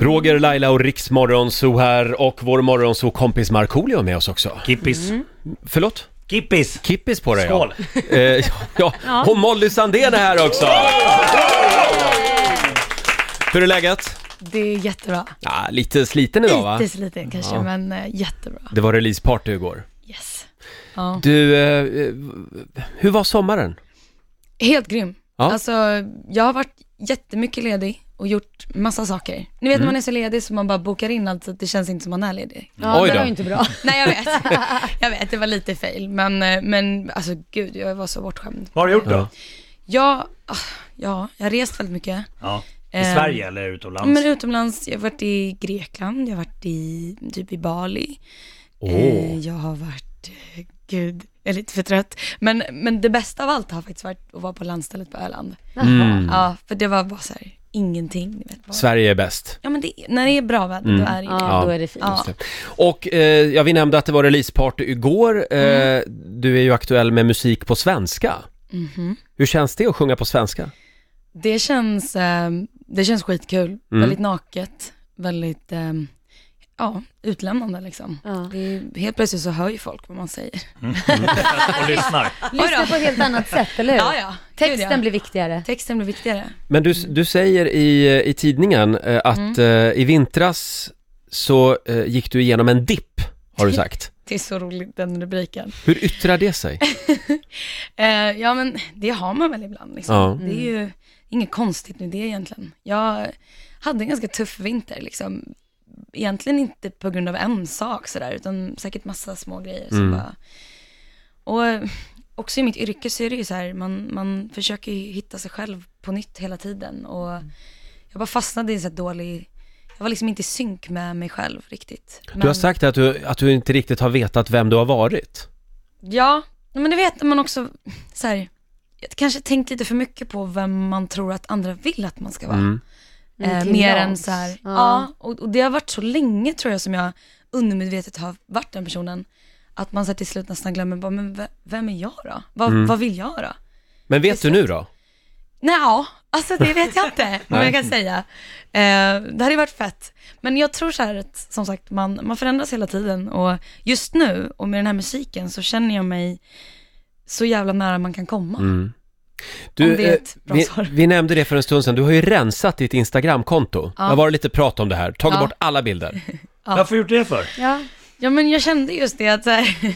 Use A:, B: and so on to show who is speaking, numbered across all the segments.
A: Roger, Laila och Riks Morgonzoo här och vår Morgonzoo-kompis Markoolio är med oss också.
B: Kippis.
C: Mm.
A: Förlåt?
B: Kippis!
A: Kippis på dig
B: Skål!
A: Ja. Eh, ja, ja. Och Molly Sandén är här också! Hur är läget?
C: Det är jättebra.
A: Ja, lite sliten idag va?
C: Lite sliten kanske,
A: Ja.
C: men eh, jättebra.
A: Det var releaseparty igår.
C: Yes. Ja.
A: Du, eh, eh, hur var sommaren?
C: Helt grym.
A: Ja.
C: Alltså, jag har varit jättemycket ledig och gjort massa saker. Ni vet
A: Mm.
C: när man är så ledig så man bara bokar in allt så att det känns inte som man är ledig.
D: Ja,
A: Oj
D: det
A: då.
D: var ju inte bra.
C: Nej, jag vet. jag vet, det var lite fail. Men, eh, men alltså gud, jag var så bortskämd.
B: Vad har du gjort då?
C: Jag, ah, ja, jag har rest väldigt mycket.
B: Ja. I
C: Ehm,
B: Sverige eller utomlands?
C: Men utomlands, jag har varit i Grekland, jag har varit i, typ i Bali.
A: Åh.
C: Eh, jag har varit, eh, gud, jag är lite för trött. Men, men det bästa av allt har faktiskt varit att vara på landstället på Öland.
A: Mm.
C: Ja, för det var bara så här, ingenting. Ni vet, bara.
A: Sverige är bäst.
C: Ja men det, när det är bra väder,
A: Mm.
C: då är det ju det.
D: Ja, då är det fint.
C: Ja.
A: Och eh, ja, vi nämnde att det var releaseparty igår. Eh,
C: Mm.
A: Du är ju aktuell med musik på svenska.
C: Mm-hmm.
A: Hur känns det att sjunga på svenska?
C: Det känns, eh, det känns skitkul.
A: Mm.
C: Väldigt naket, väldigt, eh, ja, utlämnande liksom.
D: Ja.
C: Det är, helt plötsligt så hör ju folk vad man säger.
B: Och lyssnar.
D: Lyssna på ett helt annat sätt, eller hur?
C: Ja, ja. Gud,
D: Texten
C: ja.
D: blir viktigare.
C: Texten blir viktigare.
A: Men du, du säger i, i tidningen eh, att
C: Mm.
A: eh, i vintras så eh, gick du igenom en dipp, har du sagt.
C: Det är så roligt, den rubriken.
A: Hur yttrar det sig?
C: Eh, ja, men det har man väl ibland liksom.
A: Ja.
C: Det är ju inget konstigt med det egentligen. Jag hade en ganska tuff vinter liksom. Egentligen inte på grund av en sak sådär, utan säkert massa små grejer
A: Mm.
C: som bara... Och eh, också i mitt yrke så är det ju så här, man, man försöker ju hitta sig själv på nytt hela tiden och jag bara fastnade i en så här dålig... Jag var liksom inte i synk med mig själv riktigt.
A: Du har
C: Men-
A: sagt att du, att du inte riktigt har vetat vem du har varit.
C: Ja, men det vet man också så här, jag kanske tänkt lite för mycket på vem man tror att andra vill att man ska vara.
D: Mm,
C: Eh,
D: till
C: mer än
D: lags.
C: så här, ja.
D: Ja.
C: och, och det har varit så länge tror jag som jag undermedvetet har varit den personen. Att man så här, till slut nästan glömmer, bara, men ve- vem är jag då? Vad- Vad vill jag då?
A: Men vet du nu då?
C: Nej, ja, alltså det vet jag inte om jag kan säga. Eh, det hade ju varit fett. Men jag tror så här att, som sagt, man, man förändras hela tiden och just nu och med den här musiken så känner jag mig så jävla nära man kan komma.
A: Du,
C: Om det är ett
A: eh,
C: bra
A: vi,
C: svar.
A: vi nämnde det för en stund sedan, du har ju rensat ditt Instagramkonto. Det har varit lite prat om det här, tagit
C: Ja.
A: bort alla bilder.
B: Varför har du gjort det för?
D: Ja.
C: Ja, men jag kände just det att så här,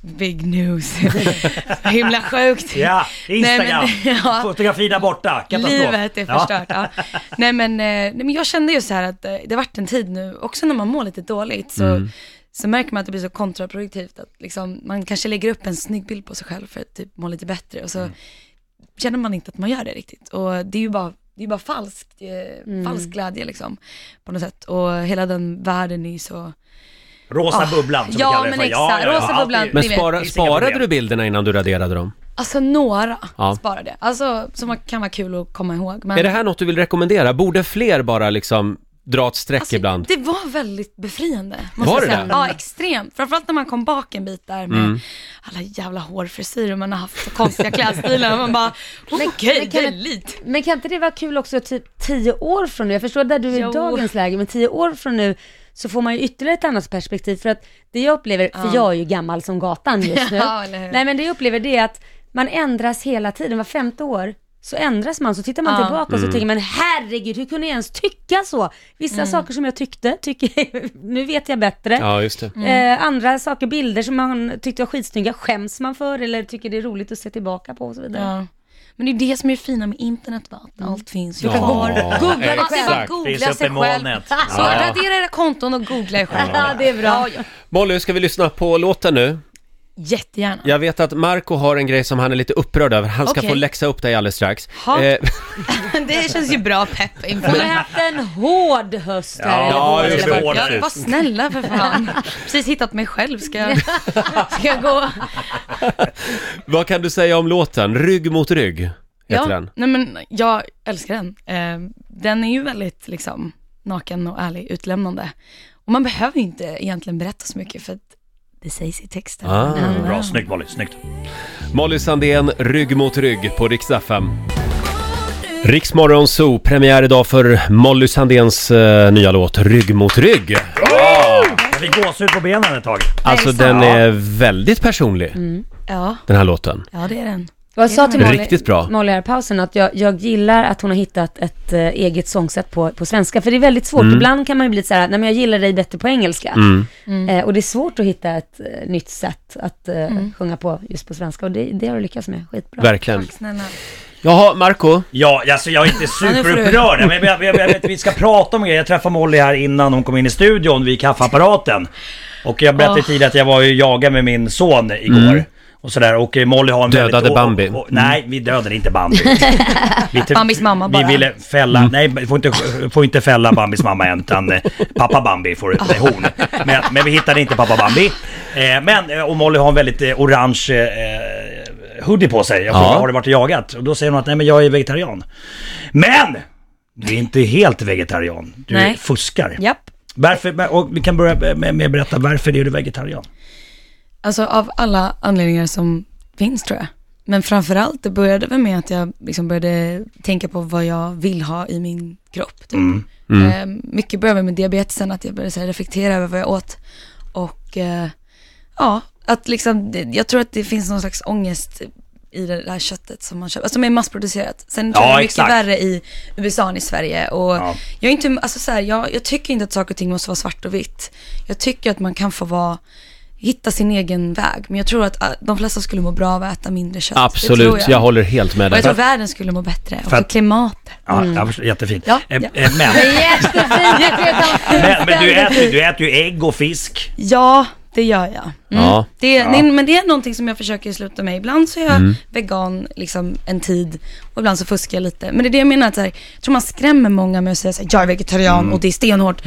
C: big news, himla sjukt.
B: Ja, Instagram!
C: Nej, men- ja.
B: Fotografi där borta, katastrof.
C: Livet är
B: Ja.
C: förstört. Ja. Nej, men, eh, nej men jag kände ju så här att eh, det har varit en tid nu, också när man mår lite dåligt så,
A: Mm.
C: så märker man att det blir så kontraproduktivt att liksom, man kanske lägger upp en snygg bild på sig själv för att typ må lite bättre och så
A: Mm.
C: känner man inte att man gör det riktigt. Och det är ju bara det är bara falskt, eh, falsk glädje liksom, på något sätt. Och hela den världen är ju så...
B: Rosa
C: Ah.
B: bubblan som
C: Ja,
B: vi kallar det
C: men
B: för.
C: exakt. Rosa
B: alltid.
C: bubblan.
A: Men
C: Ni vet,
A: spara,
B: det finns inga
A: sparade
B: problem.
A: du bilderna innan du raderade dem?
C: Alltså några
A: Ja.
C: sparade. Alltså som kan vara kul att komma ihåg. Men
A: Är det här något du vill rekommendera? Borde fler bara liksom dra ett streck
C: Alltså,
A: ibland?
C: Det var väldigt befriande. Måste
A: Var
C: jag
A: det
C: säga.
A: det? Mm.
C: Ja, extremt. Framförallt när man kom bak en bit där med alla jävla hårfrisyrer man har haft och konstiga klädstilar. Man bara, okej, det
D: men kan
C: är
D: det-
C: lite.
D: Men kan inte det vara kul också typ tio år från nu? Jag förstår där du är
C: Jo.
D: i dagens läge, men tio år från nu så får man ju ytterligare ett annat perspektiv. För att det jag upplever, för jag är ju gammal som gatan just nu.
C: Ja, eller hur?
D: Nej men det jag upplever det är att man ändras hela tiden, var femte år så ändras man, så tittar man
C: Ja.
D: tillbaka och så tänker man herregud, hur kunde jag ens tycka så? Vissa
C: Mm.
D: saker som jag tyckte, tycker, nu vet jag bättre.
A: Ja, just det.
D: Eh, andra saker, bilder som man tyckte var skitsnygga, skäms man för eller tycker det är roligt att se tillbaka på och så vidare.
C: Ja. Men det är det som är det fina med internet va?
D: Mm.
C: Att allt finns ju
A: Ja,
C: kvar. Googla dig själv.
A: exakt.
B: Finns
C: Googla
B: uppe i
C: sig själv.
B: molnet.
C: Så radera era konton och googla er själv.
D: Ja, det är bra.
C: Ja, ja.
A: Molly, ska vi lyssna på låten nu?
C: Jättegärna.
A: Jag vet att Marco har en grej som han är lite upprörd över. Han ska
C: Okej.
A: få läxa upp dig alldeles strax.
C: Ha.
A: Eh,
C: Det känns ju bra pepp inför
D: Hon
C: det
D: har
C: här.
D: haft en hård höst här.
B: Ja,
D: eller
A: ja,
D: vår,
B: det är
D: eller vad-
B: hård.
C: Jag var snälla för fan. Precis hittat mig själv. Ska jag, ska jag gå
A: vad kan du säga om låten? Rygg mot rygg heter
C: ja,
A: den.
C: Nej men jag älskar den. Eh, den är ju väldigt liksom naken och ärlig, utlämnande. Och man behöver ju inte egentligen berätta så mycket för att det sägs i texten.
A: Ah.
C: Mm.
B: Bra, snyggt Molly, snyggt.
A: Molly Sandén, Rygg mot rygg på Rix FM.
E: du
A: Riksmorgon Zoo, premiär idag för Molly Sandéns eh, nya låt Rygg mot rygg.
B: Jag fick gåshud på benen ett tag.
A: Alltså
C: det är
A: den
C: sant.
A: är väldigt personlig,
C: Mm. Ja,
A: den här låten.
C: ja det är den.
D: Jag sa till
A: Det är
D: Molly,
A: riktigt bra.
D: Molly här i pausen att jag, jag gillar att hon har hittat ett eh, eget sångsätt på, på svenska. För det är väldigt svårt.
A: Mm.
D: Ibland kan man ju bli så här, nej men jag gillar dig bättre på engelska.
A: Mm.
D: Eh, och det är svårt att hitta ett eh, nytt sätt att eh,
C: Mm.
D: sjunga på just på svenska. Och det, det har du lyckats med, skitbra.
A: Verkligen.
C: Snälla.
A: Jaha, Marco
B: Ja, alltså jag är inte
C: nu får du-
B: superupprörd. Men jag, jag, jag, jag vet, vi ska prata om grejer. Jag träffade Molly här innan hon kom in i studion vid kaffeapparaten. Och jag berättade
C: Åh.
B: tidigare att jag var ju jagad med min son igår. Och sådär. Och eh, Molly har en
A: Mm. Dödade
B: väldigt...
A: Bambi.
B: Och, och, nej, vi dödade inte Bambi. Vi tr-
C: Bambis mamma bara.
B: Vi ville fälla...
C: Mm.
B: Nej, vi får inte, får inte fälla Bambis mamma än. Utan eh, pappa Bambi får...
C: Ah.
B: Nej, hon. Men, men vi hittade inte pappa Bambi. Eh, men, eh, och Molly har en väldigt eh, orange... Eh, hoodie på sig. Jag frågar,
A: Ja.
B: har du varit och jagat? Och då säger hon att nej men jag är vegetarian. Men! Du är inte helt vegetarian. Du
C: Nej.
B: fuskar.
C: Japp.
B: Varför, och vi kan börja med, med att berätta varför är du vegetarian?
C: Alltså av alla anledningar som finns tror jag. Men framförallt, det började väl med att jag liksom började tänka på vad jag vill ha i min kropp. Typ.
B: Mm.
C: Eh, mycket började med diabetesen, att jag började så här, reflektera över vad jag åt. Och eh, ja, att liksom, det- jag tror att det finns någon slags ångest i det där köttet som man köper, alltså som är massproducerat. Sen tror
B: Ja,
C: jag det är mycket
B: exakt.
C: värre i USA än i Sverige. Och
B: Ja.
C: jag, är inte, alltså så här, jag, jag tycker inte att saker och ting måste vara svart och vitt. Jag tycker att man kan få vara, hitta sin egen väg. Men jag tror att eh, de flesta skulle må bra av att äta mindre kött. det tror
A: Absolut,
C: jag.
A: jag håller helt med
C: och
A: dig.
C: jag tror världen skulle må bättre. Och
B: För att-
C: klimatet.
B: Ja, jag förstår, jättefint.
C: Mm. Ja,
B: Eh,
C: ja.
B: eh, Men,
D: Jättefint! jag vet att-
B: men, men du, äter, du äter ju ägg och fisk.
C: Ja, det gör jag. Mm.
A: Ja. Mm.
C: Det, nej, men det är någonting som jag försöker sluta med. Ibland så är jag vegan liksom, en tid och ibland så fuskar jag lite. Men det är det jag menar, att, så här, jag tror man skrämmer många med att säga så här, jag är vegetarian
A: Mm.
C: och det är stenhårt.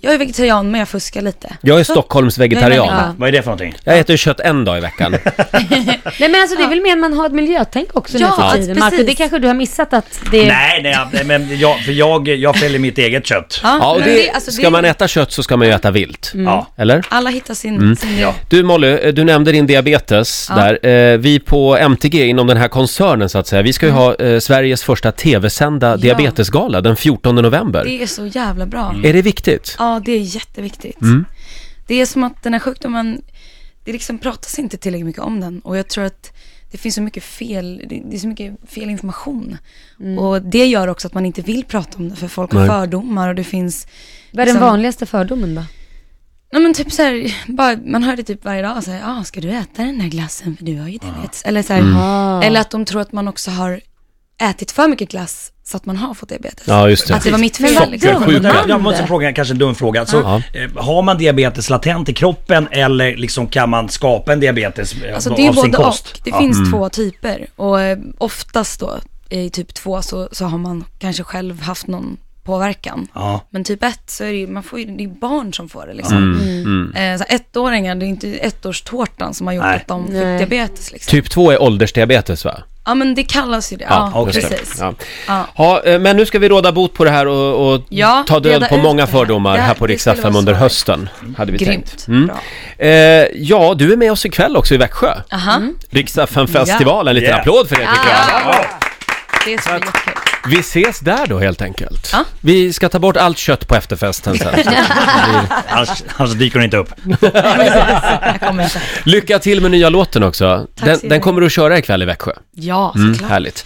C: Jag är vegetarian men jag fuskar lite.
A: Jag är
C: Så-
A: Stockholms
C: Jag är
A: vegetarian.
C: människa.
B: Vad är det för någonting?
A: Jag äter kött en dag i veckan.
D: Nej men alltså det är väl mer att man har ett miljötänk också
C: Ja,
D: nu för tiden.
C: precis.
D: Marco, det kanske du har missat att
C: Eh,
D: det är...
B: Nej, nej, jag- nej men jag, för jag, jag fäller mitt eget kött.
C: Ja,
A: Ja, och
C: men
A: det,
C: alltså, Mm.
A: ska man äta Mm. kött så ska man ju äta vilt.
B: Ja.
A: Eller?
C: Alla hittar sin... sin
B: Ja.
A: Du Molly, eh, du nämnde din diabetes där. Eh, Vi på MTG inom den här koncernen så att säga, vi ska ju
C: Mm.
A: ha eh, Sveriges första tv-sända diabetesgala den 14 november.
C: Det är så jävla bra.
A: Är det viktigt?
C: Ja, det är jätteviktigt.
A: Mm.
C: Det är som att den här sjukdomen, det liksom pratas inte tillräckligt mycket om den och jag tror att det finns så mycket fel, det det är så mycket fel information. Och det gör också att man inte vill prata om det för folk har
A: Nej.
C: fördomar och det finns...
D: Vad är den
C: liksom-
D: vanligaste fördomen då?
C: Nej men typ så här, bara, man hör det typ varje dag så här, ah, ska du äta den där glassen för du har ju diabetes? Eller, så här,
D: Ah.
C: eller att de tror att man också har ätit för mycket glass så att man har fått diabetes.
A: Ja, just det.
C: Att det var mitt fel
D: Men vad
C: liksom.
D: dumt.
A: Sjukt.
B: Jag, jag måste fråga, kanske en dum fråga. Så,
A: Ja.
B: eh, Har man diabetes latent i kroppen eller liksom kan man skapa en diabetes eh,
C: Alltså
B: av
C: det är ju
B: sin
C: både
B: kost?
C: och. Det
B: Ja.
C: finns två typer och eh, oftast då i typ två så, så har man kanske själv haft någon påverkan.
B: Ja.
C: Men typ ett så är det ju, man får ju, det är ju barn som får det liksom.
B: Mm.
C: Eh, så här, ettåringar, det är inte ettårstårtan som har gjort
B: Nej.
C: att de fick
D: Nej.
C: diabetes liksom.
A: Typ 2 är åldersdiabetes va?
C: Ja men det kallas ju det, ja,
B: okej.
C: precis.
A: Ja.
C: Ja.
A: Ja, eh, men nu ska vi råda bot på det här och, och
C: Ja,
A: ta död
C: reda
A: på
C: ut
A: många
C: det här.
A: fördomar
C: Det här-
A: här på
C: det
A: riksdag
C: skulle vara
A: under
C: svårt.
A: hösten, hade vi
C: Grymt,
A: tänkt. Mm.
C: bra.
A: Eh, ja, du är med oss ikväll också i Växjö.
C: Aha,
A: riksdag festival en liten
B: Yeah.
A: applåd för det tycker jag.
C: Ah. det ska bli jättekul.
A: Vi ses där då helt enkelt.
C: Ja.
A: Vi ska ta bort allt kött på efterfesten sen.
B: Annars, annars dyker hon inte upp.
C: Jag kommer inte.
A: Lycka till med nya låten också. Den,
C: så
A: den kommer du att köra ikväll i Växjö. Mm.
C: Ja, såklart.
A: Härligt.